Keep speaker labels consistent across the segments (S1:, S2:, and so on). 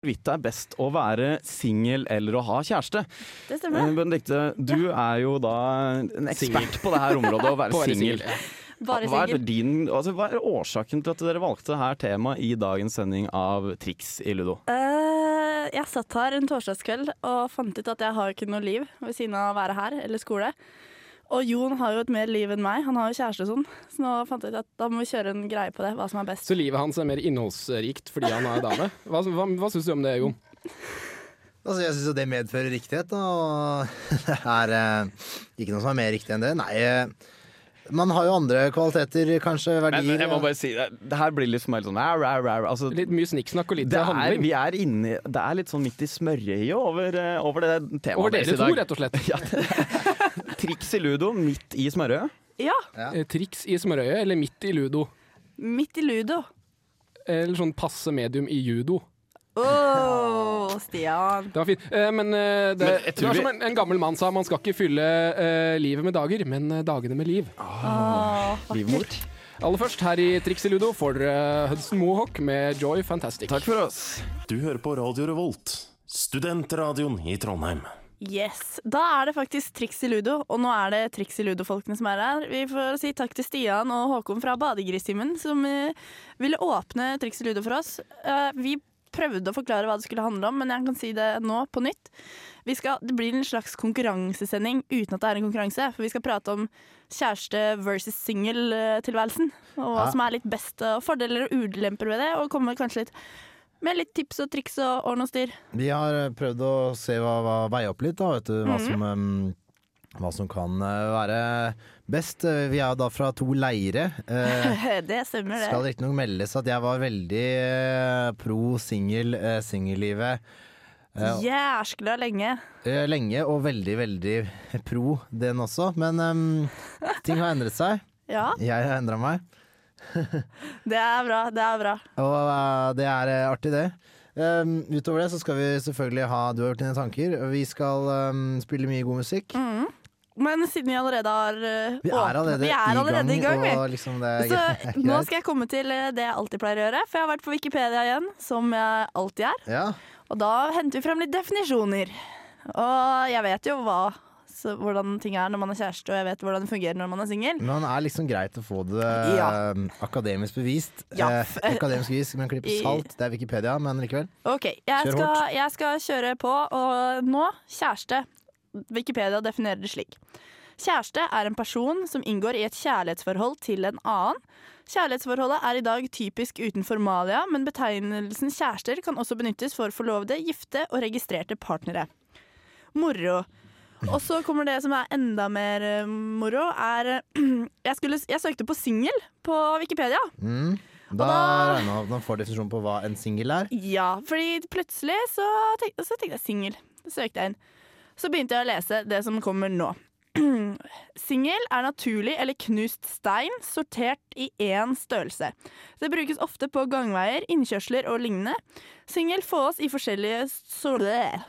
S1: hvorvidt det er best å være singel eller å ha kjæreste.
S2: Det
S1: Eh,
S2: stemmer. det.
S1: Benedikte, du er jo da en ekspert på det her området, å være
S3: Bare
S1: singel.
S3: singel. ja.
S2: Bare
S1: Hva er,
S2: singel.
S1: din, altså, hva er årsaken til at dere valgte her temaet i dagens sending av Triks i Ludo?
S2: Eh, jeg satt her en torsdagskveld og fant ut at jeg har ikke noe liv ved siden av å være her eller skole. Og Jon har jo et mer liv enn meg. Han har jo kjæreste og sånn. Så nå fant jeg ut at da må vi kjøre en greie på det, hva som er best.
S3: Så livet hans er mer innholdsrikt fordi han har dame. Hva, hva, hva syns du om det, Jon?
S4: Altså, jeg syns jo det medfører riktighet, da. Og det er eh, ikke noe som er mer riktig enn det. Nei, eh, man har jo andre kvaliteter, kanskje, verdier.
S1: Men jeg må
S4: ja.
S1: bare si, det det her blir liksom helt sånn rar, rar, rar. altså,
S3: Litt mye snikksnakk og litt
S1: det er,
S3: handling.
S1: vi er inne, det er litt sånn midt i smørøyet over, eh, over det temaet
S3: Over
S1: deres
S3: dere
S1: i
S3: to,
S1: dag.
S3: rett og slett.
S1: Triks i Ludo midt i smørøyet.
S2: Ja,
S3: Eh, Triks i smørøyet eller midt i ludo?
S2: midt i ludo.
S3: Eller sånn passe medium i judo.
S2: Å, Stian.
S3: Det var fint. Eh, Men eh, det,
S1: Men jeg
S3: det
S1: tror
S3: var
S1: vi-
S3: som en, en gammel mann sa, man skal ikke fylle eh, livet med dager, men eh, dagene med liv.
S2: Å,
S1: Livmor.
S3: Aller først, her i Triks i ludo får dere eh, Hudson Mohawk med Joy Fantastic.
S1: Takk for oss.
S5: Du hører på Radio Revolt, studentradioen i Trondheim.
S2: Yes. Da er det faktisk triks i ludo, og nå er det triks i ludo-folkene som er her. Vi får si takk til Stian og Håkon fra Badegristimen som eh, ville åpne triks i ludo for oss. Eh, vi prøvde å forklare hva det skulle handle om, men jeg kan si det nå på nytt. Vi skal, det blir en slags konkurransesending uten at det er en konkurranse, for vi skal prate om kjæreste versus singel-tilværelsen. Og hva
S4: Ja.
S2: som er litt best, og fordeler og ulemper ved det, og komme kanskje litt med litt tips og triks og ordn og styr.
S4: Vi har eh, prøvd å se hva, hva veie opp litt, da, vet du. Hva,
S1: Mhm.
S4: som, em, hva som kan eh, være best. Eh, Vi er jo da fra to leire. Eh,
S2: Det stemmer, det.
S4: skal riktignok meldes at jeg var veldig eh, pro singel, eh, singellivet. Eh,
S2: Jæskla lenge.
S4: eh, Lenge og veldig, veldig pro den også. Men em, ting har endret seg.
S2: Ja,
S4: Jeg har endra meg.
S2: det er bra. Det er bra.
S4: Og eh, det er eh, artig, det. Um, utover det så skal vi selvfølgelig ha Du har gjort dine tanker. Vi skal um, spille mye god musikk.
S2: Men siden vi allerede har eh,
S4: Vi
S2: åpnet-
S4: er
S2: Mm,
S4: allerede,
S2: vi er allerede i gang,
S4: og liksom det
S2: vi.
S4: er
S2: Så
S4: greit.
S2: nå skal jeg komme til eh, det jeg alltid pleier å gjøre, for jeg har vært på Wikipedia igjen, som jeg alltid er.
S4: ja.
S2: Og da henter vi frem litt definisjoner. Og jeg vet jo hva, så, hvordan ting er når man er kjæreste, og jeg vet hvordan det fungerer når man er singel.
S4: Men det er liksom greit å få det
S2: Ja.
S4: um, akademisk bevist.
S2: Ja.
S4: Eh, akademisk bevis med en klipp
S2: I-
S4: salt. Det er Wikipedia, men likevel.
S2: Ok, jeg
S4: Kjør
S2: skal,
S4: hardt.
S2: jeg skal kjøre på, og nå kjæreste. Wikipedia definerer det slik. Kjæreste er en person som inngår i et kjærlighetsforhold til en annen. Kjærlighetsforholdet er i dag typisk uten formalia, men betegnelsen kjærester kan også benyttes for forlovede, gifte og registrerte partnere. Moro. Og så kommer det som er enda mer eh, moro, er eh, Jeg, skulle, jeg søkte på singel på Wikipedia.
S4: Mm. Da,
S2: da-
S4: regner man med at man får definisjon på hva en singel er.
S2: Ja, fordi plutselig så, tenk, så tenkte jeg singel. Så søkte jeg inn. Så begynte jeg å lese det som kommer nå. Singel er naturlig eller knust stein, sortert i én størrelse. Det brukes ofte på gangveier, innkjørsler og lignende. Singel fås i forskjellige so-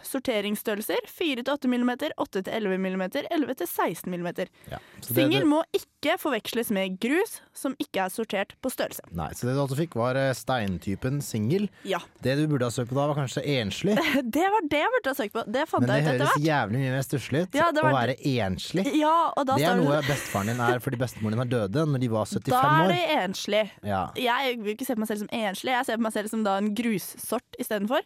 S2: sorteringsstørrelser. 4-8 mm, 8-11 mm, 11-16 mm.
S4: Ja. Så det,
S2: Singel
S4: du,
S2: må ikke forveksles med grus, som ikke er sortert på størrelse.
S4: nei, så det du altså fikk, var eh, steintypen singel.
S2: Ja,
S4: Det du burde ha søkt på da, var kanskje enslig.
S2: Det var det jeg burde ha søkt på. Det fant
S4: Men det
S2: jeg ut etter
S4: høres
S2: hvert.
S4: jævlig mye mer stusslig ut
S2: Ja, det
S4: å
S2: var-
S4: være enslig.
S2: Ja, og da
S4: Det er
S2: står sånn,
S4: noe bestefaren din er fordi bestemoren din er døde når de var
S2: Da er
S4: 75 år.
S2: du enslig.
S4: Ja.
S2: Jeg vil ikke se på meg selv som enslig, jeg ser på meg selv som da en grussort istedenfor.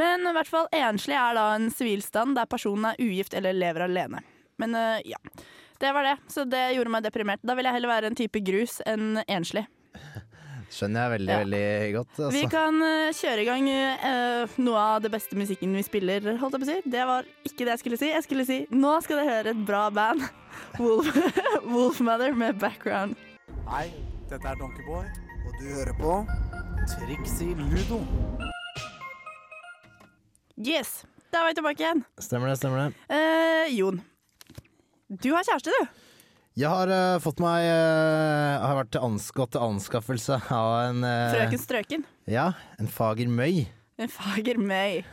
S2: Men i hvert fall enslig er da en sivilstand der personen er ugift eller lever alene. Men øh, ja. Det var det, så det gjorde meg deprimert. Da vil jeg heller være en type grus enn enslig.
S4: Skjønner jeg veldig,
S2: Ja.
S4: veldig godt.
S2: Vi
S4: Altså.
S2: kan øh, kjøre i gang øh, noe av det beste musikken vi spiller, holdt jeg på å si. Det var ikke det jeg skulle si. Jeg skulle si nå skal dere høre et bra band. Wolf, Wolfmother med background.
S6: Hei, dette er Donkeyboy, og du hører på Trixie Ludo.
S2: Yes, da er vi tilbake igjen.
S4: Stemmer det, stemmer det.
S2: Eh, Jon, du har kjæreste, du.
S4: Jeg har eh, fått meg eh, Har vært til ansgått til anskaffelse av en eh,
S2: Frøken Strøken.
S4: Ja, en fager møy.
S2: En fager møy.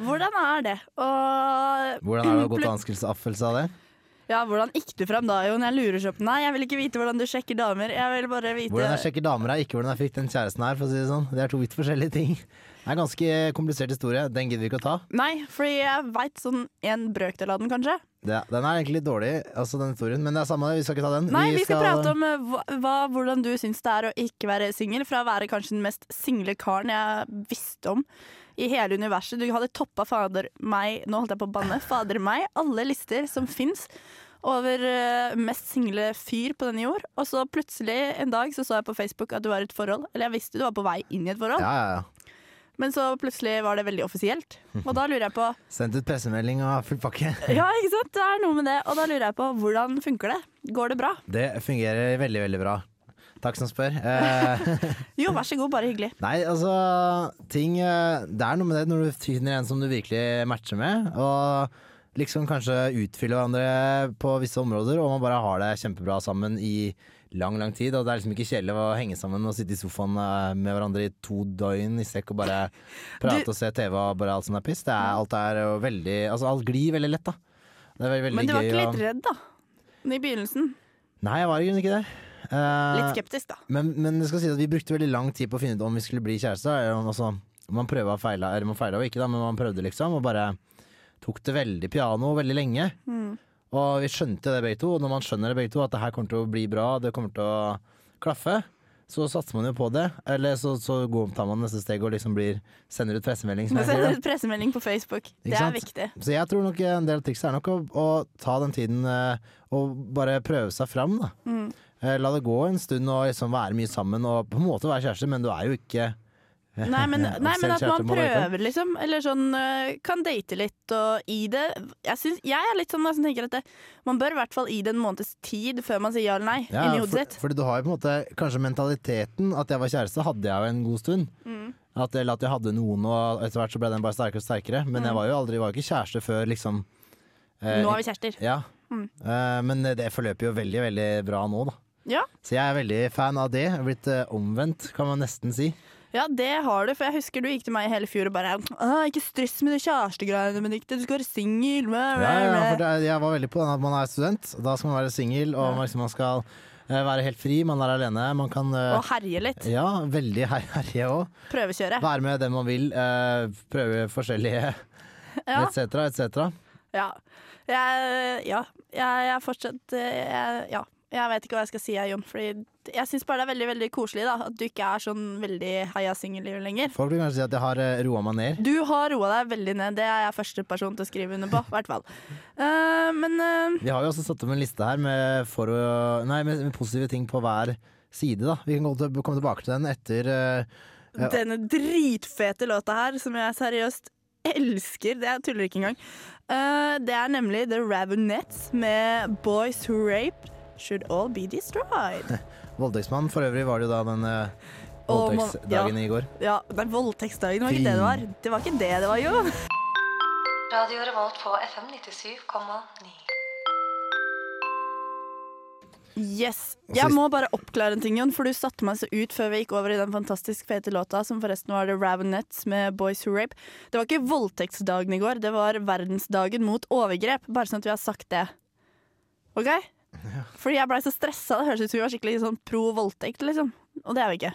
S2: Hvordan er det? Og
S4: Hvordan er det å gå til anskaffelse av det?
S2: ja, hvordan gikk du fram da, Jon? Jeg lurer så på Nei, jeg vil ikke vite hvordan du sjekker damer. Jeg vil bare vite
S4: Hvordan jeg sjekker damer her, ikke hvordan jeg fikk den kjæresten her, for å si det sånn. Det er to vidt forskjellige ting. Det er en ganske komplisert historie. Den gidder vi ikke å ta.
S2: Nei, fordi jeg veit sånn en brøkdel av den, kanskje.
S4: Det, den er egentlig litt dårlig, altså den historien, men det er samme, vi skal ikke ta den.
S2: Nei, vi skal prate om eh, hva, hva- hvordan du syns det er å ikke være singel, fra å være kanskje den mest single karen jeg visste om i hele universet. Du hadde toppa fader meg, nå holdt jeg på å banne, fader meg, alle lister som fins over eh, mest single fyr på denne jord. Og så plutselig en dag så, så jeg på Facebook at du var i et forhold, eller jeg visste du var på vei inn i et forhold,
S4: Ja, ja, ja.
S2: men så plutselig var det veldig offisielt. Og da lurer jeg på
S4: Sendt ut pressemelding og full pakke.
S2: Ja, ikke sant? Det er noe med det. Og da lurer jeg på hvordan funker det? Går det bra?
S4: Det fungerer veldig, veldig bra. Takk som spør. Eh,
S2: Jo, vær så god, bare hyggelig.
S4: nei, altså ting eh, Det er noe med det når du finner en som du virkelig matcher med, og liksom kanskje utfyller hverandre på visse områder, og man bare har det kjempebra sammen i lang, lang tid. Og det er liksom ikke kjedelig å henge sammen og sitte i sofaen eh, med hverandre i to døgn i sekk og bare prate
S2: Du-
S4: og se TV og bare alt som er piss. Det er, alt er jo veldig Altså, alt glir veldig lett, da. Det er veldig, veldig
S2: Men du var
S4: gøy
S2: ikke
S4: å-
S2: litt redd, da? I begynnelsen.
S4: Nei, jeg var i grunnen ikke det. Eh,
S2: Litt skeptisk, da.
S4: Men, men jeg skal si at vi brukte veldig lang tid på å finne ut om vi skulle bli kjærester. eller om- Altså, man prøva og feila, eller man feila jo ikke, da, men man prøvde liksom. Og bare tok det veldig piano veldig lenge.
S2: Mm.
S4: Og vi skjønte det begge to, og når man skjønner det begge to, at det her kommer til å bli bra, det kommer til å klaffe, så satser man jo på det. Eller så, så går, tar man neste steg og liksom blir, sender ut pressemelding. Som jeg sier,
S2: Send
S4: da.
S2: ut pressemelding på Facebook. Det
S4: sant?
S2: er viktig.
S4: Så jeg tror nok en del triks er nok å, å ta den tiden eh, og bare prøve seg fram. Da.
S2: Mm.
S4: Eh, La det gå en stund og liksom være mye sammen og på en måte være kjæreste, men du er jo ikke
S2: Nei, men,
S4: Ja,
S2: nei, men
S4: offisielt
S2: at
S4: kjæreste
S2: man
S4: må være
S2: prøver, liksom. Eller sånn øh, kan date litt og i det. Jeg, syns- jeg er litt sånn da, som tenker at det, man bør i hvert fall i det en måneds tid før man sier ja eller nei.
S4: ja,
S2: inni
S4: for,
S2: hodet sitt.
S4: Fordi du har jo på en måte kanskje mentaliteten at jeg var kjæreste, hadde jeg jo en god stund.
S2: Mm.
S4: At, eller at jeg hadde noen, og etter hvert så ble den bare sterkere og sterkere. Men jeg var jo aldri var jo ikke kjæreste før liksom
S2: Mm.
S4: eh,
S2: Nå er vi Mm. kjærester.
S4: Ja. Eh, men det forløper jo veldig, veldig bra nå, da.
S2: Ja.
S4: Så jeg er veldig fan av det. Jeg er blitt eh, omvendt, kan man nesten si.
S2: ja, det har du. For jeg husker du gikk til meg i hele fjor og bare «Åh, Ikke stress med de kjærestegreiene, Benedicte. Du skal være singel.
S4: Ja, ja, ja, for det, er- jeg var veldig på den at man er student. Da skal man være singel, og man, liksom, man skal eh, være helt fri. Man er alene. Man kan eh,
S2: Og herje litt.
S4: Ja, veldig her- herje òg.
S2: Prøvekjøre.
S4: Være med den man vil. eh, prøve forskjellige
S2: Ja.
S4: etc., etc.
S2: Ja. Jeg, ja. Jeg, jeg er fortsatt eh, jeg, Ja. Jeg vet ikke hva jeg skal si, jeg, Jon. Fordi jeg syns bare det er veldig veldig koselig da at du ikke er sånn veldig heia singelliv lenger.
S4: Folk vil kanskje si at jeg har eh, roa meg ned.
S2: Du har roa deg veldig ned. Det er jeg første person til å skrive under på. i hvert fall. Eh, men eh,
S4: Vi har jo også satt opp en liste her med, for å, nei, med, med positive ting på hver side. Da. Vi kan gå til, komme tilbake til den etter eh, Ja.
S2: denne dritfete låta her, som jeg seriøst elsker, det jeg tuller ikke engang, Eh, det er nemlig The Ravenettes med 'Boys Who Raped Should All Be Destroyed'.
S4: voldtektsmann. For øvrig var det jo da den eh,
S2: Og man-
S4: voldtektsdagen i går.
S2: Ja, nei, voldtektsdagen var ikke
S4: Fy.
S2: det det var. Det var ikke det det var, Jon.
S7: Radio Revolt på FM 97,9.
S2: Yes.
S4: Og
S2: Jeg
S4: sist-
S2: må bare oppklare en ting, Jon, for du satte meg så ut før vi gikk over i den fantastisk fete låta, som forresten var The Ravenettes med Boys Who Rape. Det var ikke voldtektsdagen i går, det var verdensdagen mot overgrep. Bare sånn at vi har sagt det. OK? Fordi jeg blei så stressa. Det høres ut som vi var skikkelig sånn pro voldtekt, liksom. Og det er vi ikke.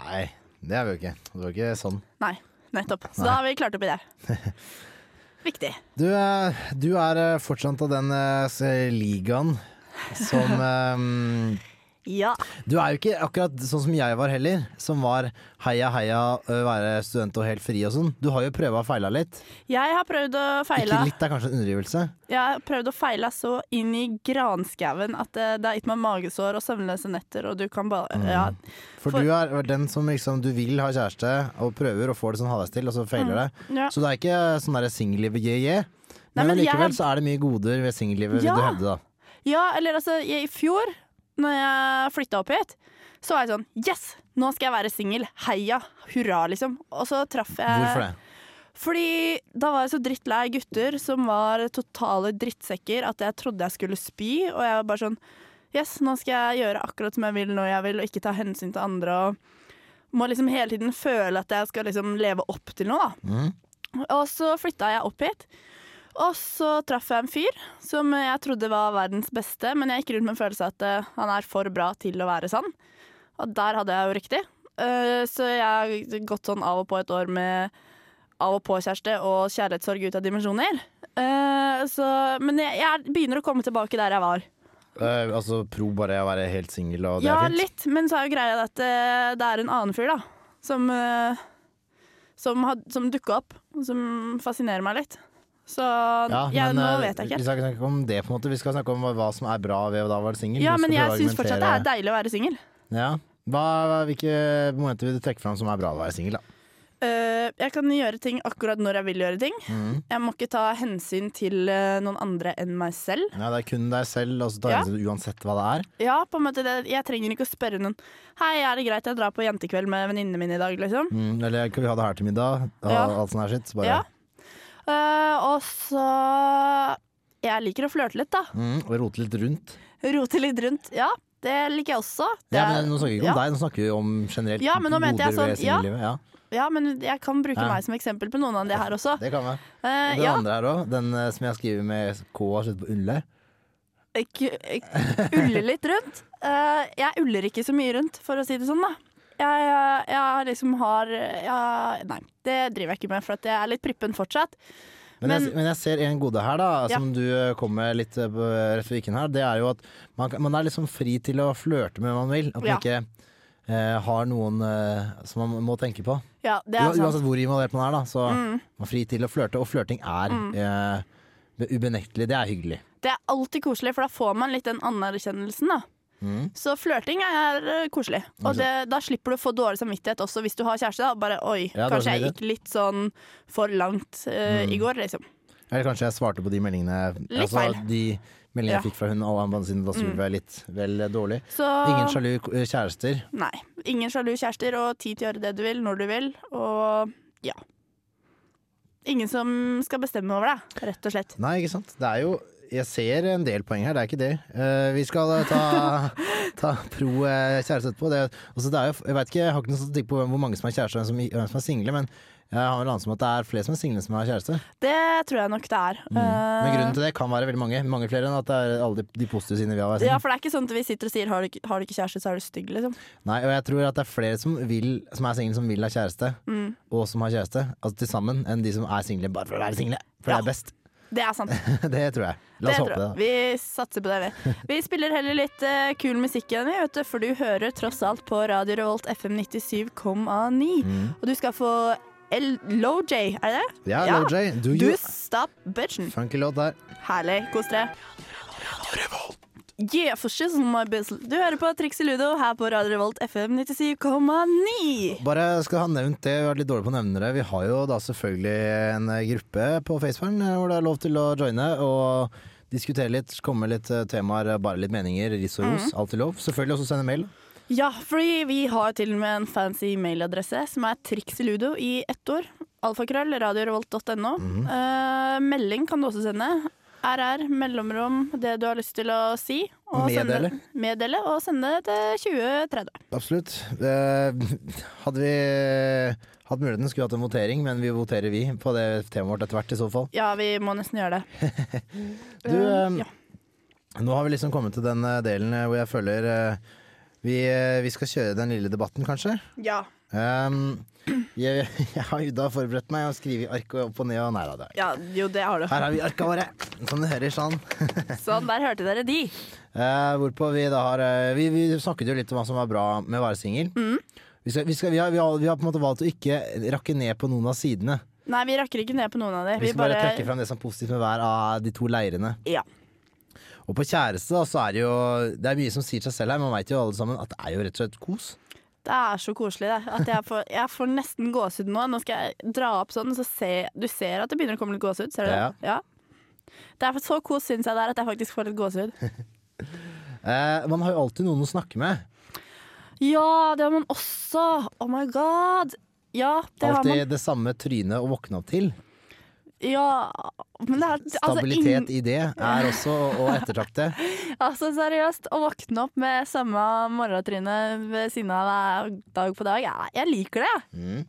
S4: Nei, det er vi jo ikke. Det var ikke sånn.
S2: Nei. Nettopp. Så da har vi klart opp i det. Viktig.
S4: Du, eh, du er eh, fortsatt av den eh, s- ligaen som eh,
S2: Ja.
S4: Du er jo ikke akkurat sånn som jeg var heller, som var heia heia, ø, være student og helt fri og sånn. Du har jo prøva og feila litt.
S2: Jeg har prøvd å feile.
S4: Ikke litt er kanskje en underdrivelse.
S2: Jeg har prøvd å feile så inn i granskauen at det, det har gitt meg magesår og søvnløse netter, og du kan bare
S4: Mm.
S2: ja.
S4: For,
S2: For-
S4: du er den som liksom du vil ha kjæreste og prøver og får det sånn halvveis til, og så feiler det.
S2: Mm, ja.
S4: Så det er ikke sånn derre singellivet je-je. Men,
S2: men jeg-
S4: likevel så er det mye goder ved singellivet, vil du
S2: Ja.
S4: hevde da.
S2: ja, eller altså, jeg, i fjor, når jeg flytta opp hit, så var jeg sånn Yes! Nå skal jeg være singel. Heia! Hurra, liksom. Og så traff jeg
S4: Hvorfor det?
S2: Fordi da var jeg så drittlei gutter som var totale drittsekker at jeg trodde jeg skulle spy, og jeg var bare sånn Yes, nå skal jeg gjøre akkurat som jeg vil når jeg vil, og ikke ta hensyn til andre. Og må liksom hele tiden føle at jeg skal liksom leve opp til noe, da. Og så flytta jeg opp hit. Og så traff jeg en fyr som jeg trodde var verdens beste, men jeg gikk rundt med en følelse av at eh, han er for bra til å være sann. Og der hadde jeg jo riktig. Eh, så jeg har gått sånn av og på et år med av og på-kjæreste og kjærlighetssorg ut av dimensjoner. Eh, så, men jeg, jeg er- begynner å komme tilbake der jeg var.
S4: Eh, altså pro bare å være helt singel, og det
S2: Ja,
S4: er fint?
S2: litt, men så er jo greia at eh, det er en annen fyr, da. Som, eh, som, had- som dukka opp, og som fascinerer meg litt. Så
S4: Ja,
S2: jeg, nå
S4: eh,
S2: vet jeg
S4: Vi
S2: ikke.
S4: skal ikke snakke om det, på en måte. Vi skal snakke om hva- hva som er bra ved å da være singel.
S2: Ja,
S4: Vi
S2: men
S4: skal
S2: jeg
S4: prøve å
S2: syns fortsatt det er
S4: argumentere-
S2: deilig å være singel.
S4: Ja. Hva, hva- hvilke momenter vil du trekke fram som er bra å være singel, da?
S2: Eh, jeg kan gjøre ting akkurat når jeg vil gjøre ting.
S4: Mm.
S2: Jeg må ikke ta hensyn til eh, noen andre enn meg selv.
S4: Ja, det er kun deg selv, og så tar
S2: Ja.
S4: hensyn til uansett hva det er.
S2: Ja, på en måte det, Jeg trenger ikke å spørre noen Hei, er det greit jeg drar på jentekveld med venninnene mine i dag? liksom
S4: Mm, eller kan vi ha det her til middag? Og
S2: Ja.
S4: alt sånn her shit. Bare.
S2: Ja. Eh, Og så Jeg liker å flørte litt, da.
S4: Mm, og rote litt rundt.
S2: Rote litt rundt. Ja, det liker jeg også. Det
S4: Ja,
S2: er-
S4: men Nå snakker vi ikke om deg, nå snakker vi om generelt
S2: Ja, men nå mente jeg
S4: goder ved
S2: sånn- ja.
S4: singellivet. Ja.
S2: Ja, men jeg kan bruke
S4: Ja.
S2: meg som eksempel på noen av de her også.
S4: Det kan være.
S2: Eh,
S4: Den
S2: ja,
S4: andre her òg, den eh, som jeg skriver med K og slutter på Ulle.
S2: jeg, jeg uller litt rundt. Eh, jeg uller ikke så mye rundt, for å si det sånn, da. Jeg, jeg liksom har jeg, Nei, det driver jeg ikke med, for at jeg er litt prippen fortsatt.
S4: Men, jeg,
S2: Men-
S4: men jeg ser en gode her, da,
S2: Ja.
S4: som du eh, kom med litt eh, på- rett ved viken her. Det er jo at man, kan- man er liksom fri til å flørte med hvem man vil. At man
S2: Ja.
S4: ikke eh, har noen eh, som man må tenke på.
S2: Ja, det
S4: Ua-
S2: er sant. Mm.
S4: Uansett hvor involvert man er, da, så man er fri til å flørte. Og flørting er eh, ubenektelig. Det er hyggelig.
S2: Det er alltid koselig, for da får man litt den anerkjennelsen, da.
S4: Mm.
S2: Så flørting er eh, koselig. Og det, da slipper du å få dårlig samvittighet også hvis du har kjæreste. Da. Bare oi,
S4: Ja, dårlig Mm.
S2: kanskje jeg gikk litt sånn for langt eh, i går, liksom.
S4: Eller kanskje jeg svarte på de meldingene altså,
S2: Litt feil.
S4: De meldingene
S2: Ja. Mm.
S4: jeg fikk fra hun og han sin dassgulvet er litt vel dårlig.
S2: Så
S4: Ingen sjalu k- kjærester.
S2: Nei. Ingen sjalu kjærester, og tid til å gjøre det du vil, når du vil, og ja. Ingen som skal bestemme over deg, rett og slett.
S4: Nei, ikke sant. Det er jo Jeg ser en del poeng her, det er ikke det. Eh, vi skal eh, ta, ta pro eh, kjæreste etterpå. Det, altså, det er jo, jeg vet ikke, jeg har ikke noen statistikk på hvem- hvor mange som er kjærester og hvem som, hvem som er single, men jeg har en anelse om at det er flere som er single enn som har kjæreste.
S2: Det tror jeg nok det er.
S4: Mm. Men
S2: Eh,
S4: grunnen til det kan være veldig mange. Mange flere enn at det er alle de, de positive sidene vi har.
S2: ja, for det er ikke sånn at vi sitter og sier har du, ikke- har du ikke kjæreste, så er du stygg, liksom.
S4: Nei, og jeg tror at det er flere som, vil, som er single som vil ha kjæreste,
S2: Mm.
S4: og som har kjæreste, altså til sammen, enn de som er single bare for å være single. For
S2: Ja.
S4: det er best.
S2: Det er sant.
S4: det tror jeg. La oss
S2: Det
S4: håpe
S2: tror jeg.
S4: det, da.
S2: Vi satser på det, vi. Vi spiller heller litt eh, kul musikk igjen, vi, vet du, for du hører tross alt på Radio Revolt FM 97,9. Og du skal få L Low-J, er det det?
S4: Mm. Ja,
S2: Ja.
S4: LoJ, do
S2: Du
S4: you
S2: stop bitchen.
S4: Funky låt der.
S2: Herlig. Kos dere. Yeah, for shizzle, my bizzle. Du hører på Trixie Ludo her på Radio Revolt FM 97,9.
S4: Bare skal ha nevnt det, vi har vært litt dårlige på å nevne det. Vi har jo da selvfølgelig en eh, gruppe på Facefarm eh, hvor det er lov til å joine og diskutere litt, komme med litt eh, temaer, eh, bare litt meninger, ris og
S2: Mhm.
S4: ros. Alltid lov. Selvfølgelig også sende mail.
S2: Ja, fordi vi har til og med en fancy mailadresse som er trixiludo i ett ord. Alfakrøll, radiorevolt.no.
S4: Mhm.
S2: Eh, melding kan du også sende. RR, mellomrom, det du har lyst til å si. Og
S4: Meddele.
S2: Sende, meddele, og sende det til 2030.
S4: Absolutt. Eh, hadde vi eh, hatt muligheten, skulle vi hatt en votering, men vi voterer vi på det temaet vårt etter hvert, i så fall.
S2: Ja, vi må nesten gjøre det.
S4: Du,
S2: Eh,
S4: eh,
S2: ja.
S4: Nå har vi liksom kommet til den eh, delen eh, hvor jeg føler eh, vi, eh, vi skal kjøre den lille debatten, kanskje.
S2: ja.
S4: Ehm, jeg, jeg har jo da forberedt meg og skrevet i arket opp og ned og nei da. det er-
S2: Ja, jo, det har du.
S4: Her har vi arka våre, som du hører sånn.
S2: Sånn, der hørte dere de.
S4: Eh, hvorpå vi da har eh, vi, vi snakket jo litt om hva som var bra med å være singel.
S2: Mm.
S4: Vi, skal, vi, skal, vi, har, vi, har, vi har på en måte valgt å ikke rakke ned på noen av sidene.
S2: Nei, vi rakker ikke ned på noen av de.
S4: Vi skal bare, trekke fram det som er positivt med hver av de to leirene.
S2: Ja.
S4: Og på kjæreste da, så er det jo Det er mye som sier seg selv her, man veit jo alle sammen at det er jo rett og slett kos.
S2: Det er så koselig, det. At jeg, får, jeg får nesten gåsehud nå. Nå skal jeg dra opp sånn, så se, du ser at det begynner å komme litt gåsehud. Ser du
S4: Ja.
S2: det? Ja. Det er så kos, syns jeg det er, at jeg faktisk får litt gåsehud.
S4: Eh, man har jo alltid noen å snakke med.
S2: Ja, det har man også! Oh my god! Ja, det har
S4: alltid
S2: man.
S4: det samme trynet å våkne opp til.
S2: Ja, men det er altså,
S4: Stabilitet i det er også å ettertrakte.
S2: ingen- altså seriøst, å våkne opp med samme morgentryne ved siden av deg dag på dag, ja, jeg liker det. jeg.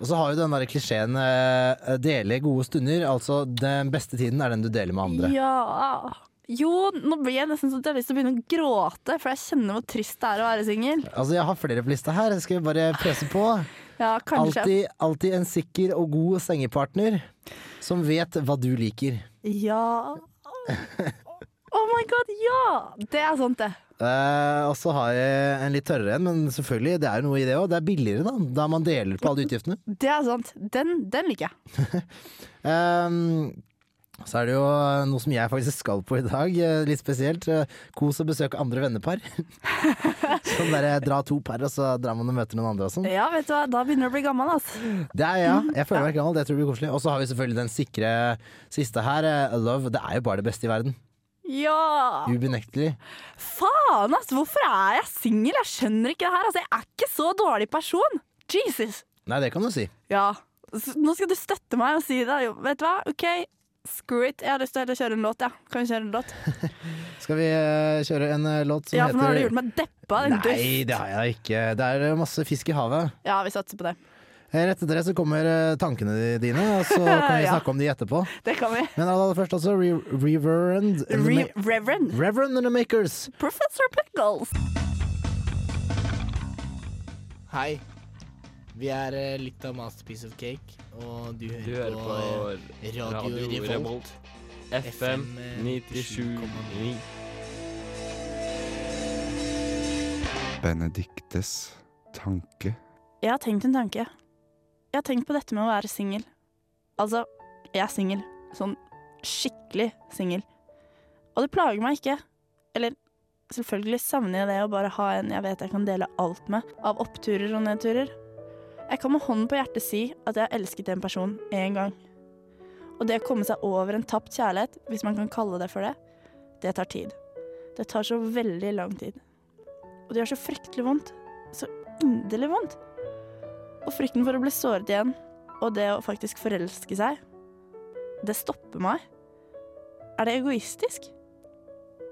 S4: Og så har jo den der klisjeen eh, 'dele gode stunder', altså den beste tiden er den du deler med andre.
S2: Ja. Jo, nå blir jeg nesten sånn at jeg har lyst til å begynne å gråte, for jeg kjenner hvor trist det er å være singel.
S4: Altså, jeg har flere på lista her. Skal vi bare presse på?
S2: Ja, kanskje.
S4: Alltid, alltid en sikker og god sengepartner som vet hva du liker.
S2: Ja. Oh my god, ja! Det er sant, det.
S4: Eh, og så har jeg en litt tørrere en, men selvfølgelig, det er jo noe i det òg. Det er billigere, da, da man deler på alle utgiftene.
S2: Det er sant. Den, den liker jeg.
S4: Ehm, så er det jo noe som jeg faktisk skal på i dag, eh, litt spesielt. eh, Kos og besøk andre vennepar. sånn derre dra to par, og så drar man og møter noen andre og sånn.
S2: Ja, vet du hva, da begynner du å bli gammel, altså.
S4: Det er ja, jeg føler meg gammel, det tror jeg blir koselig. Og så har vi selvfølgelig den sikre siste her, eh, love. Det er jo bare det beste i verden.
S2: Ja!
S4: Ubenektelig.
S2: Faen, altså! Hvorfor er jeg singel? Jeg skjønner ikke det her. Altså, jeg er ikke så dårlig person. Jesus!
S4: Nei, det kan du si.
S2: Ja. S- Nå skal du støtte meg og si det. Jo, vet du hva? OK, screw it. Jeg har lyst til å heller kjøre en låt, ja. Kan vi kjøre en låt?
S4: Skal vi eh, kjøre en eh, låt som
S2: Ja, for nå har du
S4: heter
S2: gjort meg deppa. Den dust.
S4: Nei, det har jeg ikke. Det er eh, masse fisk i havet.
S2: Ja, vi satser på det.
S4: Eh, Rett etter det så kommer eh, tankene dine, og så kan vi
S2: Ja.
S4: snakke om de etterpå.
S2: Det kan vi.
S4: Men aller først altså Re Reverend and the
S2: Re
S4: Ma-
S2: Reverend
S4: Reverend and the Makers.
S2: Professor Pickles.
S8: Hei. Vi er eh, litt av Masterpiece of Cake, og du hører,
S9: Du hører
S8: på,
S9: på
S8: eh, Radio,
S9: Radio
S8: Revolt.
S9: Revolt. FM
S8: eh,
S9: 97,9.
S10: Benediktes tanke.
S2: Jeg har tenkt en tanke. Jeg har tenkt på dette med å være singel. Altså, jeg er singel. Sånn skikkelig singel. Og det plager meg ikke. Eller selvfølgelig savner jeg det å bare ha en jeg vet jeg kan dele alt med, av oppturer og nedturer. Jeg kan med hånden på hjertet si at jeg har elsket en person én gang. Og det å komme seg over en tapt kjærlighet, hvis man kan kalle det for det, det tar tid. Det tar så veldig lang tid. Og det gjør så fryktelig vondt. Så inderlig vondt. Og frykten for å bli såret igjen, og det å faktisk forelske seg, det stopper meg. Er det egoistisk?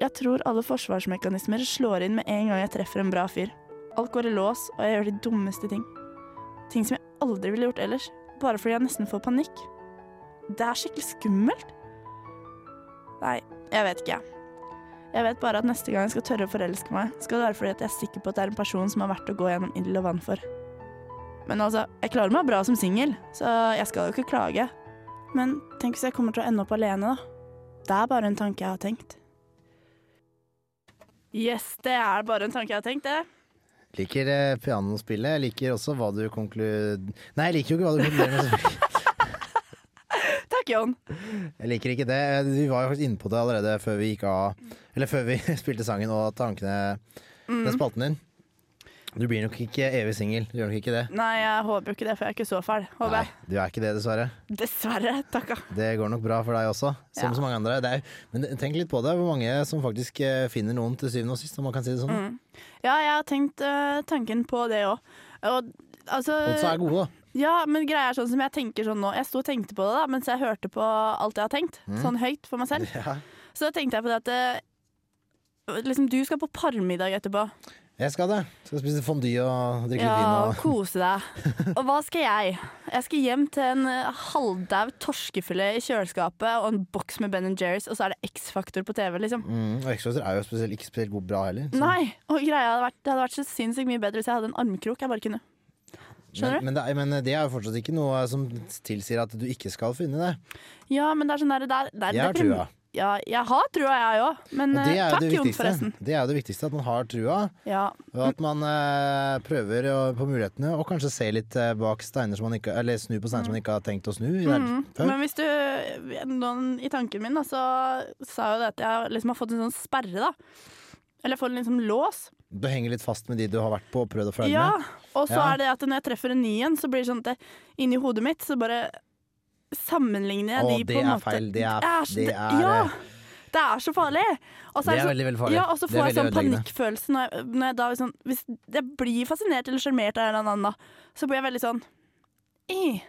S2: Jeg tror alle forsvarsmekanismer slår inn med en gang jeg treffer en bra fyr. Alt går i lås, og jeg gjør de dummeste ting. Ting som jeg aldri ville gjort ellers, bare fordi jeg nesten får panikk. Det er skikkelig skummelt. Nei, jeg vet ikke, jeg. Jeg vet bare at neste gang jeg skal tørre å forelske meg, skal det være fordi at jeg er sikker på at det er en person som er verdt å gå gjennom ild og vann for. Men altså, jeg klarer meg bra som singel, så jeg skal jo ikke klage. Men tenk hvis jeg kommer til å ende opp alene, da. Det er bare en tanke jeg har tenkt. Yes, det er bare en tanke jeg har tenkt, det.
S4: Liker eh, pianospillet. Jeg liker også hva du konklud... Nei, jeg liker jo ikke hva du konkluderer med. selvfølgelig.
S2: Takk, Jon.
S4: Jeg liker ikke det. Eh, Vi var jo faktisk inne på det allerede før vi gikk av Eller før vi spilte sangen og tankene Den spalten din. Du blir nok ikke evig singel. Du gjør nok ikke det.
S2: Nei, jeg håper jo ikke det, for jeg er ikke så fæl. Håper jeg.
S4: Du er ikke det, dessverre.
S2: Dessverre. Takka.
S4: Det går nok bra for deg også, som
S2: Ja.
S4: så mange andre. Det er, men tenk litt på det, hvor mange som faktisk eh, finner noen til syvende og sist, om man kan si det sånn.
S2: Mm. Ja, jeg har tenkt eh, tanken på det òg. Og altså
S4: Og så er gode, da.
S2: Ja, men greia er sånn som jeg tenker sånn nå. Jeg sto og tenkte på det da, mens jeg hørte på alt jeg har tenkt.
S4: Mm.
S2: Sånn høyt for meg selv.
S4: Ja.
S2: Så da tenkte jeg på det at eh, liksom, du skal på parmiddag etterpå.
S4: Jeg skal det. Skal spise fondue og drikke litt vin.
S2: Ja,
S4: Og...
S2: og kose deg. Og hva skal jeg? Jeg skal hjem til en eh, halvdau torskefilet i kjøleskapet og en boks med Ben Jerry's, og så er det X-faktor på TV, liksom.
S4: Mm, og Exorcist er jo spesielt, ikke spesielt god bra heller. så-
S2: Nei! Og greia hadde vært, det hadde vært så sinnssykt mye bedre hvis jeg hadde en armkrok. Jeg bare kunne. Skjønner
S4: men, men, det, er- men det er jo fortsatt ikke noe som tilsier at du ikke skal finne det.
S2: Ja, men det er sånn der, det er, det er
S4: Jeg har
S2: deprim-
S4: trua.
S2: Ja, jeg har trua, jeg òg. Men
S4: Og det
S2: eh,
S4: er jo
S2: takk,
S4: det
S2: Jon,
S4: viktigste.
S2: forresten.
S4: Det er jo det viktigste, at man har trua,
S2: Ja.
S4: og at man eh, prøver å- på mulighetene, og kanskje ser litt eh, bak steiner som man ikke Eller snu på steiner som man ikke har tenkt å snu. i det hele
S2: Mm.
S4: tatt før.
S2: Men hvis du noen, I tanken min da, så sa jo det at jeg liksom har fått en sånn sperre, da. Eller jeg får en liksom lås.
S4: Du henger litt fast med de du har vært på og prøvd å følge
S2: Ja,
S4: med.
S2: og så
S4: Ja.
S2: er det at når jeg treffer en ny en, så blir det sånn at det, inni hodet mitt så bare sammenligner jeg
S4: Å,
S2: de
S4: det
S2: på en
S4: er
S2: måte.
S4: feil. Det er-
S2: så-
S4: det er- eh,
S2: Ja! Det er så farlig! Og så
S4: Det er
S2: sånn-
S4: veldig, veldig farlig.
S2: Ja, og så
S4: Det er
S2: får jeg
S4: veldig
S2: sånn
S4: ødeleggende.
S2: panikkfølelse når jeg, når jeg da liksom Hvis jeg blir fascinert eller sjarmert av en eller annen, da, så blir jeg veldig sånn «Ih».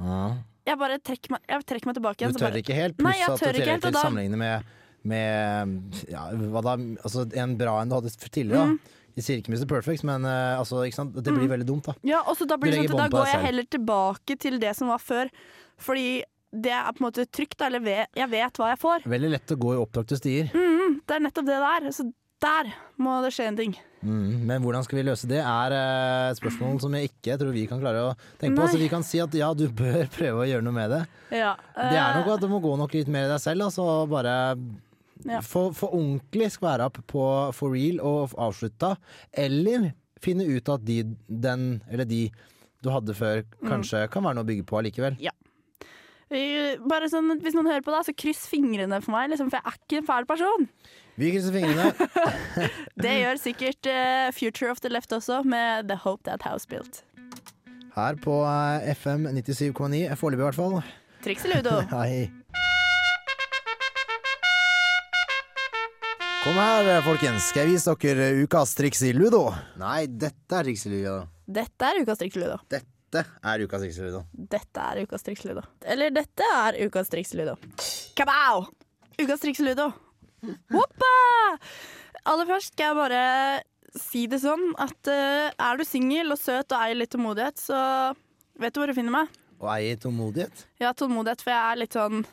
S4: Ja.
S2: Jeg bare trekker meg, jeg trekker meg tilbake igjen.
S4: Du
S2: så bare-
S4: tør ikke helt,
S2: Nei,
S4: pluss
S2: jeg
S4: at du
S2: tør ikke
S4: tør
S2: helt,
S4: til
S2: og da-
S4: sammenligne med, med ja, hva da, altså, en bra en du hadde tidligere.
S2: Mm.
S4: Da. Jeg sier ikke Mr. Perfect, men eh, altså, ikke sant? det blir veldig dumt, da.
S2: Ja, og så da blir
S4: Du
S2: det sånn
S4: legger
S2: at da
S4: bånd på
S2: går
S4: deg
S2: jeg
S4: selv.
S2: heller tilbake til det som var før. Fordi det er på en måte trygt, da, eller ve- jeg vet hva jeg får.
S4: Veldig lett å gå i opptrakte stier.
S2: Mm, det er nettopp det det er. Så der må det skje en ting.
S4: Mm, men hvordan skal vi løse det, er eh, et spørsmål som jeg ikke tror vi kan klare å tenke på.
S2: Nei.
S4: Så vi kan si at ja, du bør prøve å gjøre noe med det.
S2: Ja,
S4: Det er nok
S2: eh,
S4: at du må gå nok litt mer i deg selv, altså og bare
S2: Ja.
S4: få, få ordentlig skvære opp på for real og avslutta, eller finne ut at de, den, eller de du hadde før, kanskje kan være noe å bygge på allikevel.
S2: vi- Bare sånn, hvis noen hører på, da, så kryss fingrene for meg, liksom, for jeg er ikke en fæl person.
S4: Vi krysser fingrene. Mm.
S2: Det gjør sikkert eh, Future of the Left også, med The Hope That House Built.
S4: Her på eh, FM 97,9, foreløpig i hvert fall.
S2: Triks i ludo.
S4: Hei. Kom her, folkens. Skal jeg vise dere ukas triks i ludo? Nei, dette er triks i ludo.
S2: Dette er ukas triks i ludo.
S4: Dette er ukas triks i ludo.
S2: Dette er ukas triks i ludo. Eller dette er ukas triks i ludo. Kabao! Ukas triks i ludo. Hoppa! Aller først skal jeg bare si det sånn at eh, er du singel og søt og eier litt tålmodighet, så vet du hvor du finner meg.
S4: Og eie tålmodighet.
S2: Jeg har tålmodighet, for jeg er litt sånn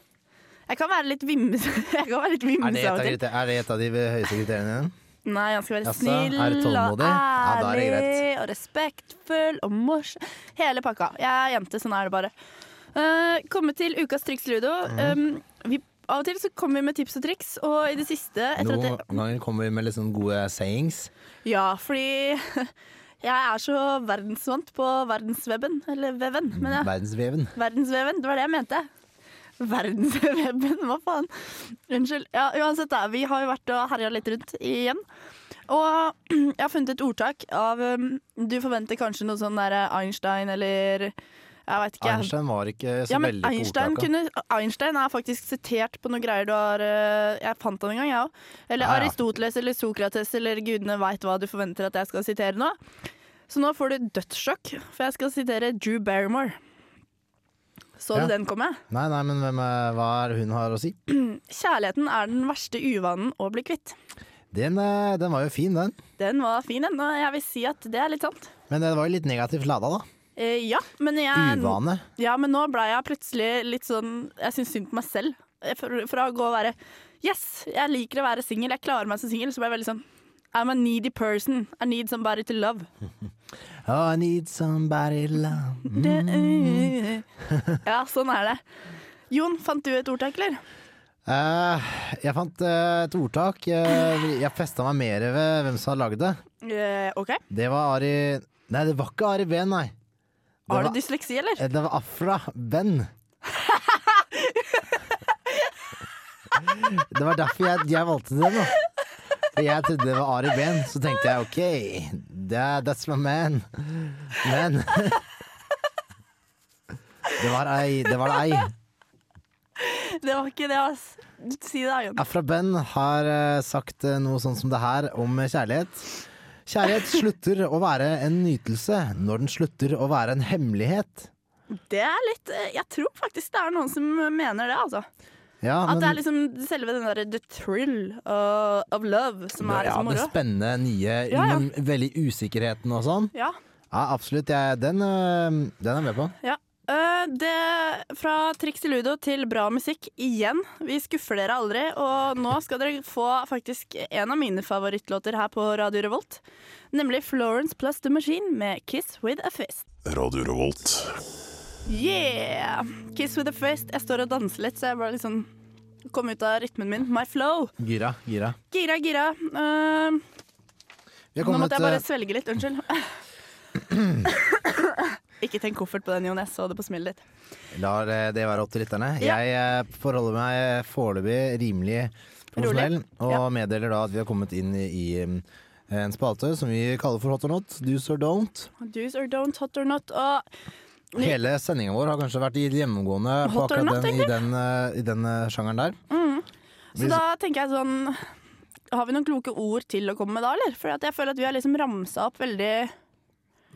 S2: Jeg kan være litt vims. Jeg kan være litt
S4: Er
S2: vims av
S4: det, et av,
S2: og til.
S4: kriter- er det et av de høyeste kriteriene dine?
S2: Nei, han skal være
S4: Jaså,
S2: snill
S4: er det
S2: og
S4: tålmodig? Ja, da er det
S2: ærlig
S4: greit.
S2: og respektfull og morsom. Hele pakka. Jeg er jente, sånn er det bare. Uh, komme til ukas triks ludo.
S4: Mhm.
S2: Um, vi, av og til så kommer vi med tips og triks, og i det siste etter
S4: Noen
S2: at
S4: ganger kommer vi med litt sånn gode sayings.
S2: det, Ja, fordi jeg er så verdensvant på verdensweben. Eller veven, men jeg
S4: Verdensveven.
S2: Verdensveven, det var det jeg mente. Verdensveven, hva faen? Unnskyld. Ja, uansett, da. Vi har jo vært og herja litt rundt igjen. Og jeg har funnet et ordtak av um, Du forventer kanskje noe sånn der Einstein eller Jeg veit ikke.
S4: Einstein var ikke så
S2: ja, men
S4: veldig på
S2: Einstein,
S4: ordtaka.
S2: kunne, Einstein er faktisk sitert på noen greier du har eh, Jeg fant han en gang, jeg òg. Eller
S4: Ah, Ja, ja.
S2: Aristoteles eller Sokrates eller gudene veit hva du forventer at jeg skal sitere nå. Så nå får du dødssjokk, for jeg skal sitere Drew Barrymore. Så
S4: Ja.
S2: du den komme?
S4: Nei, nei, men hvem er, hva er hun har å si?
S2: Kjærligheten er den verste uvanen å bli kvitt.
S4: Den, eh, den var jo fin, den.
S2: Den var fin, den, og jeg vil si at det er litt sant.
S4: Men det var jo litt negativt lada, da.
S2: Eh, ja, men jeg
S4: Uvane.
S2: Ja, men nå ble jeg plutselig litt sånn Jeg syns synd på meg selv. Jeg- Fra fra å gå og være Yes, jeg liker å være singel, jeg klarer meg som singel. Så ble jeg veldig sånn I'm a needy person. I need somebody to love.
S4: Oh, I need somebody love.
S2: Det- øh. Ja, sånn er det. Jon, fant du et ordtak, eller?
S4: Eh, jeg fant eh, et ordtak. eh, jeg festa meg mer ved hvem som har lagd det.
S2: Eh, OK.
S4: Det var Ari Nei, det var ikke Ari Behn, nei. Det
S2: Har
S4: var,
S2: du dysleksi, eller?
S4: eh, det var Afra Behn. det var derfor jeg, jeg valgte den. da. For jeg trodde det var Ari Behn, så tenkte jeg OK, that, that's my man. Men Det var ei. Det var ei.
S2: Det var ikke det, ass. Si det, da, Jon.
S4: Afra Ben har eh, sagt eh, noe sånn som det her om kjærlighet. Kjærlighet slutter å være en nytelse når den slutter å være en hemmelighet.
S2: Det er litt eh, Jeg tror faktisk det er noen som mener det, altså.
S4: Ja,
S2: At det er liksom selve den derre the thrill uh, of love som er
S4: ja,
S2: liksom
S4: det
S2: moro.
S4: spennende, nye,
S2: Ja, ja.
S4: men veldig usikkerheten og sånn.
S2: Ja.
S4: Ja, absolutt. Jeg, den, eh, den er jeg med på.
S2: Eh, det, fra triks til ludo til bra musikk igjen. Vi skuffer dere aldri. Og nå skal dere få faktisk en av mine favorittlåter her på Radio Revolt. Nemlig Florence plus The Machine med 'Kiss With A Fist'.
S5: Radio Revolt.
S2: Yeah! Kiss with a fist. Jeg står og danser litt, så jeg bare liksom kom ut av rytmen min. My flow.
S4: Gira, gira.
S2: Gira, gira. Eh,
S4: Vi har
S2: nå måtte
S4: kommet,
S2: jeg bare
S4: eh,
S2: svelge litt. Unnskyld. Ikke tenk koffert på den, Jon. Jeg så det på smilet ditt.
S4: lar eh, det være opp til lytterne.
S2: Ja.
S4: Jeg eh, forholder meg foreløpig rimelig profesjonell, og
S2: Ja.
S4: meddeler da at vi har kommet inn i, i eh, en spalte som vi kaller for Hot or Not, Do's or Don't.
S2: Do's or don't, hot or not. Og
S4: Hele sendinga vår har kanskje vært i gjennomgående på
S2: Hot or
S4: akkurat
S2: not,
S4: den, i, den, eh, i den eh, sjangeren der.
S2: Så da tenker jeg sånn Har vi noen kloke ord til å komme med da, eller? For at jeg føler at vi har liksom ramsa opp veldig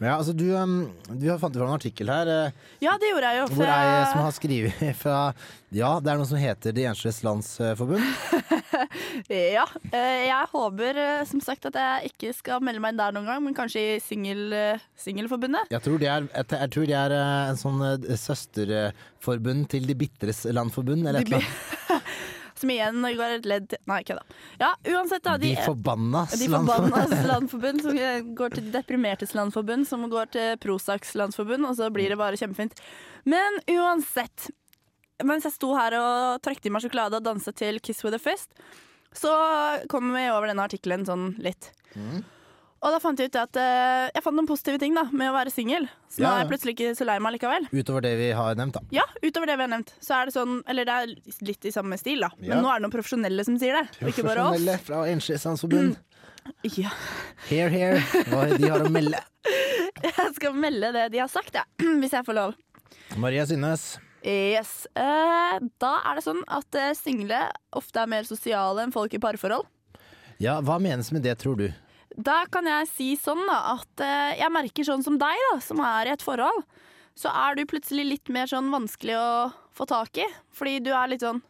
S4: Ja, altså du, um, du har fant fram en artikkel her eh,
S2: Ja, det gjorde jeg jo. for
S4: hvor ei
S2: jeg-
S4: som har skrevet fra Ja, det er noe som heter De ensliges landsforbund.
S2: Ja. eh, Jeg håper eh, som sagt at jeg ikke skal melde meg inn der noen gang, men kanskje i singel- eh, Singelforbundet.
S4: Jeg tror det er, jeg, jeg tror det er eh, en sånn eh, søsterforbund til De bitres landforbund, eller
S2: De
S4: et eller annet.
S2: Som igjen går et ledd til Nei, kødda. Ja, uansett, da.
S4: De
S2: De,
S4: forbannas
S2: de
S4: landforbund.
S2: forbannas landforbund, som eh, går til Deprimertes landforbund, som går til Prosacs landsforbund, og så blir det bare kjempefint. Men uansett. Mens jeg sto her og trakk i meg sjokolade og dansa til Kiss with a Fist, så kom vi over denne artikkelen sånn litt.
S4: Mm.
S2: Og da fant jeg ut at eh, jeg fant noen positive ting da med å være singel. Så nå
S4: Ja,
S2: er
S4: ja.
S2: jeg plutselig ikke så lei meg likevel.
S4: Utover det vi har nevnt, da.
S2: Ja, utover det vi har nevnt. Så er det sånn, eller det er litt i samme stil, da. Men
S4: Ja.
S2: nå er det noen profesjonelle som sier det, og ikke bare oss.
S4: Profesjonelle fra Ensliges landsforbund.
S2: Ja.
S4: Here, here. Hva de har å melde.
S2: Jeg skal melde det de har sagt, jeg. Hvis jeg får lov.
S4: Maria Synnes.
S2: Yes. Eh, da er det sånn at eh, single ofte er mer sosiale enn folk i parforhold.
S4: Ja, hva menes med det, tror du?
S2: Da kan jeg si sånn da, at eh, jeg merker sånn som deg, da, som er i et forhold, så er du plutselig litt mer sånn vanskelig å få tak i. Fordi du er litt sånn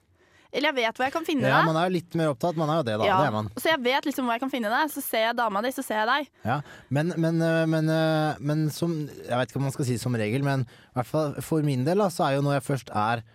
S2: Eller jeg vet hvor jeg kan finne
S4: Ja,
S2: deg.
S4: man er jo litt mer opptatt. Man er jo det, da.
S2: Ja,
S4: Det er man.
S2: Så jeg vet liksom hvor jeg kan finne deg. Så ser jeg dama di, så ser jeg deg.
S4: Ja, men, men, øh, men, øh, men som Jeg vet ikke om man skal si som regel, men i hvert fall for min del da, så er jo når jeg først er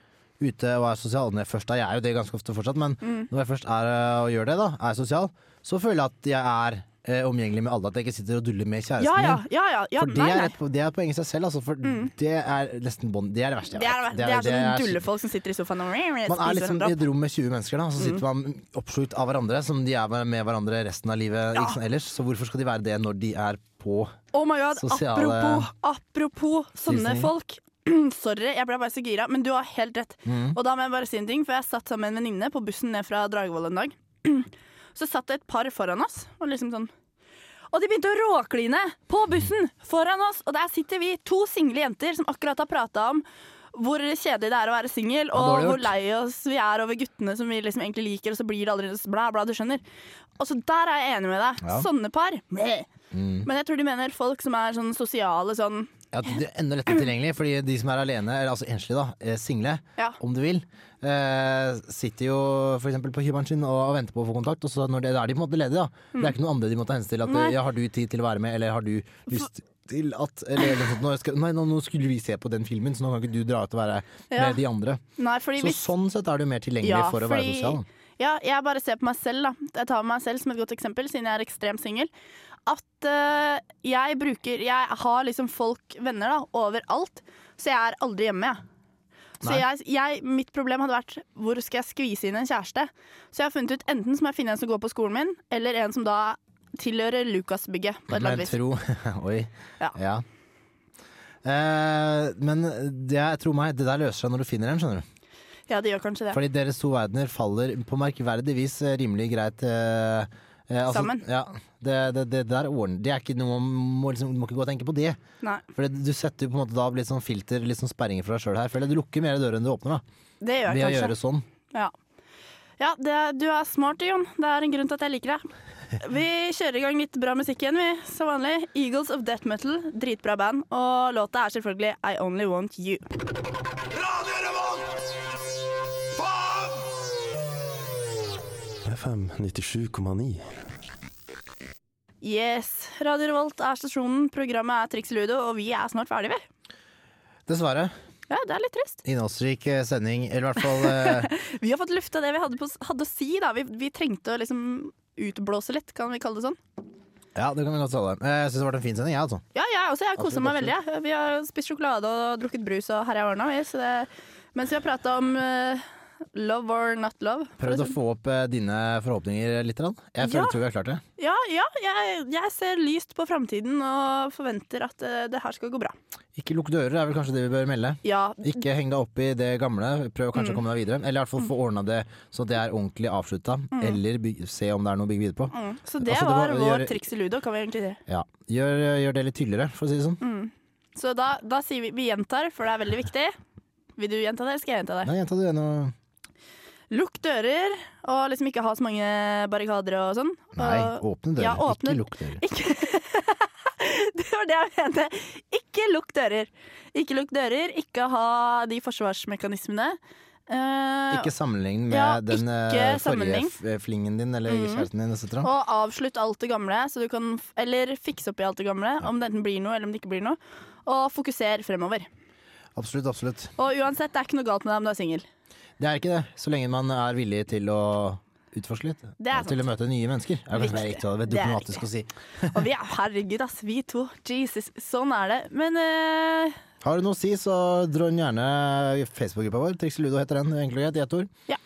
S4: ute og er sosial når jeg, først er, jeg er jo det ganske ofte fortsatt, men
S2: Mm.
S4: når jeg først er øh, og gjør det, da, er sosial, så føler jeg at jeg er øh, omgjengelig med alle. At jeg ikke sitter og duller med kjæresten
S2: Ja, ja,
S4: min.
S2: ja, ja, ja
S4: for det,
S2: nei,
S4: er
S2: nei. Mm.
S4: et, det er et poeng i seg selv, altså, for det er nesten bånd. Det er det verste jeg
S2: Det er,
S4: vet.
S2: det er sånne
S4: det er-
S2: dullefolk som sitter i sofaen og
S4: man er
S2: spiser Mm.
S4: liksom i
S2: hverandre opp.
S4: et rom med 20 mennesker, da, og så sitter man oppslukt av hverandre, som de er med hverandre resten av livet
S2: Ja.
S4: ikke sant, ellers. Så hvorfor skal de være det når de er på
S2: Oh my god,
S4: sosiale
S2: apropos, apropos sånne
S4: tilsnitt.
S2: folk. Sorry, jeg ble bare så gira, men du har helt rett.
S4: Mm.
S2: Og da må jeg bare si en ting, for jeg satt sammen med en venninne på bussen ned fra Dragvoll en dag. Så satt det et par foran oss, og liksom sånn Og de begynte å råkline på bussen foran oss, og der sitter vi, to single jenter som akkurat har prata om hvor kjedelig det er å være singel, og
S4: dårlig
S2: hvor
S4: gjort.
S2: lei oss vi er over guttene som vi liksom egentlig liker, og så blir det aldri bla, bla, du skjønner. Og så der er jeg enig med deg.
S4: Ja.
S2: Sånne par. bleh. Men jeg tror de mener folk som er sånn sosiale sånn
S4: Ja, det er enda lettere tilgjengelig, fordi de som er alene, eller altså enslige, da, eh, single,
S2: Ja.
S4: om du vil, eh, sitter jo f.eks. på hybelen sin og, og venter på å få kontakt, og så når det, da er de på en måte ledige, da. Det er ikke noen andre de må ta hensyn til. At,
S2: Mm.
S4: eh,
S2: Nei.
S4: ja, har du tid til å være med, eller har du lyst til at eller, eller, nå, skal, nei, nå, nå skulle vi se på den filmen, så nå kan ikke du dra ut og være
S2: Ja.
S4: med de andre.
S2: Nei, fordi
S4: Så
S2: hvis
S4: sånn sett er du mer tilgjengelig
S2: Ja,
S4: for å være
S2: fordi-
S4: sosial. da.
S2: Ja, jeg bare ser på meg selv, da. Jeg tar meg selv som et godt eksempel, siden jeg er ekstremt singel. At eh, jeg bruker Jeg har liksom folk, venner, da, overalt. Så jeg er aldri hjemme, jeg. Så
S4: Nei.
S2: jeg, jeg, mitt problem hadde vært hvor skal jeg skvise inn en kjæreste. Så jeg har funnet ut enten så må jeg finne en som går på skolen min, eller en som da tilhører Lukasbygget. På et eller annet
S4: Men
S2: vis.
S4: tro Oi.
S2: Ja.
S4: Ja. Eh, men det, jeg tror meg, det der løser seg når du finner en, skjønner du.
S2: Ja, det gjør kanskje det.
S4: Fordi deres to verdener faller på merkverdig vis eh, rimelig greit eh, eh, altså,
S2: Sammen.
S4: Ja, det, det, det der ordner Det er ikke noe man må, liksom, må ikke gå og tenke på det.
S2: Nei,
S4: For det- du setter jo på en måte da opp litt sånn filter, litt sånn sperringer for deg sjøl her. Føler jeg. Du lukker mer dører enn du åpner, da.
S2: det gjør
S4: Ved å
S2: jeg kanskje.
S4: gjøre sånn.
S2: Ja, ja det, du er smart, Jon. Det er en grunn til at jeg liker deg. Vi kjører i gang litt bra musikk igjen, vi. Som vanlig. Eagles of Death Metal, dritbra band. Og låta er selvfølgelig I Only Want You.
S5: FM 97,9.
S2: Yes. Radio Revolt er stasjonen, programmet er Triks Ludo, og vi er snart ferdige, vi.
S4: Dessverre.
S2: Ja, det er litt trist.
S4: Innholdsrik eh, sending, eller i hvert fall eh,
S2: Vi har fått lufta det vi hadde, på, hadde å si, da. Vi, vi trengte å liksom utblåse litt, kan vi kalle det sånn.
S4: Ja, det kan vi godt kalle det. Eh, Jeg syns det har vært en fin sending, jeg, altså.
S2: Ja, jeg også. Jeg har kosa
S4: Absolutt,
S2: meg veldig. jeg. Vi har spist sjokolade og drukket brus og herja ordna. vi, så det- Mens vi har prata om eh, love or not love. for
S4: Prøvd
S2: å
S4: å
S2: si-
S4: få opp eh, dine forhåpninger litt. grann. Jeg føler
S2: Ja.
S4: tror vi har klart det.
S2: Ja, ja jeg, jeg ser lyst på framtiden og forventer at eh, det her skal gå bra.
S4: Ikke lukk dører er vel kanskje det vi bør melde.
S2: Ja,
S4: Ikke heng deg opp i det gamle,
S2: Mm.
S4: prøv kanskje å komme deg videre. Eller i hvert fall få ordna det så det er ordentlig avslutta, eller byg, se om det er noe å bygge videre på.
S2: mm. Så det
S4: Altså, det må
S2: var vår
S4: gjøre-
S2: triks i ludo, kan vi egentlig si.
S4: Ja. Gjør, gjør det litt tydeligere, for å si det sånn.
S2: Mm. Så da, da sier vi vi gjentar, for det er veldig viktig. Vil du gjenta det, eller skal jeg gjenta det?
S4: Nei, jenta, du er noe
S2: Lukk dører, og liksom ikke ha så mange barrikader og sånn.
S4: Nei,
S2: Og-
S4: åpne dører.
S2: Ja, åpne-
S4: Ikke lukk dører.
S2: Ikke Det var det jeg mente. Ikke lukk dører. Ikke lukk dører, ikke ha de forsvarsmekanismene. Eh,
S4: Ikke sammenlign med
S2: Ja,
S4: den eh,
S2: ikke
S4: forrige
S2: sammenlign.
S4: f- eh, flingen din eller
S2: Mhm.
S4: kjæresten din, etc.
S2: og avslutt alt det gamle, så du kan, f- eller fikse opp i alt det gamle, om det enten blir noe eller om det ikke blir noe. Og fokuser fremover.
S4: Absolutt, absolutt.
S2: Og uansett, det er ikke noe galt med deg om du er singel.
S4: Det er ikke det, så lenge man er villig til å utforske litt.
S2: Det er
S4: Og til å
S2: sant.
S4: møte nye mennesker. Er
S2: Riktig.
S4: det kanskje mer riktig og
S2: Det er
S4: diplomatisk å si.
S2: Og vi er herregud, ass, vi to. Jesus, sånn er det. Men eh,
S4: Har du noe å si, så dra den gjerne i Facebook-gruppa vår. Trixie Ludo heter den, enkelt og greit, i ett ord.
S2: Ja.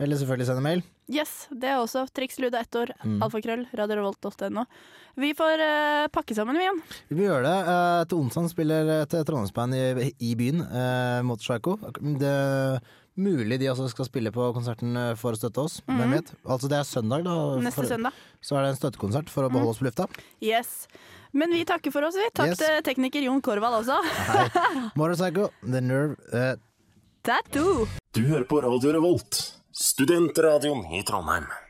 S4: Eller selvfølgelig sende mail.
S2: Yes, det er også Triks Luda ett år.
S4: Mm.
S2: Alfakrøll, radiorevolt.no. Vi får eh, pakke sammen, vi igjen.
S4: Vi må gjøre det. Eh, til onsdag spiller et Trondheimsband i, i byen eh, mot Psycho. Det er mulig de også skal spille på konserten eh, for å støtte oss. Hvem vet? Altså det er søndag, da.
S2: Mhm. Neste
S4: for,
S2: søndag. Mhm.
S4: Så er det en støttekonsert for å beholde oss på lufta.
S2: Yes. Men vi takker for oss, vi. Takk
S4: Yes.
S2: til tekniker Jon Korvald også.
S4: Moral Psycho, The Nerve. Eh,
S2: Tattoo!
S5: Du hører på Radio Revolt, studentradioen i Trondheim.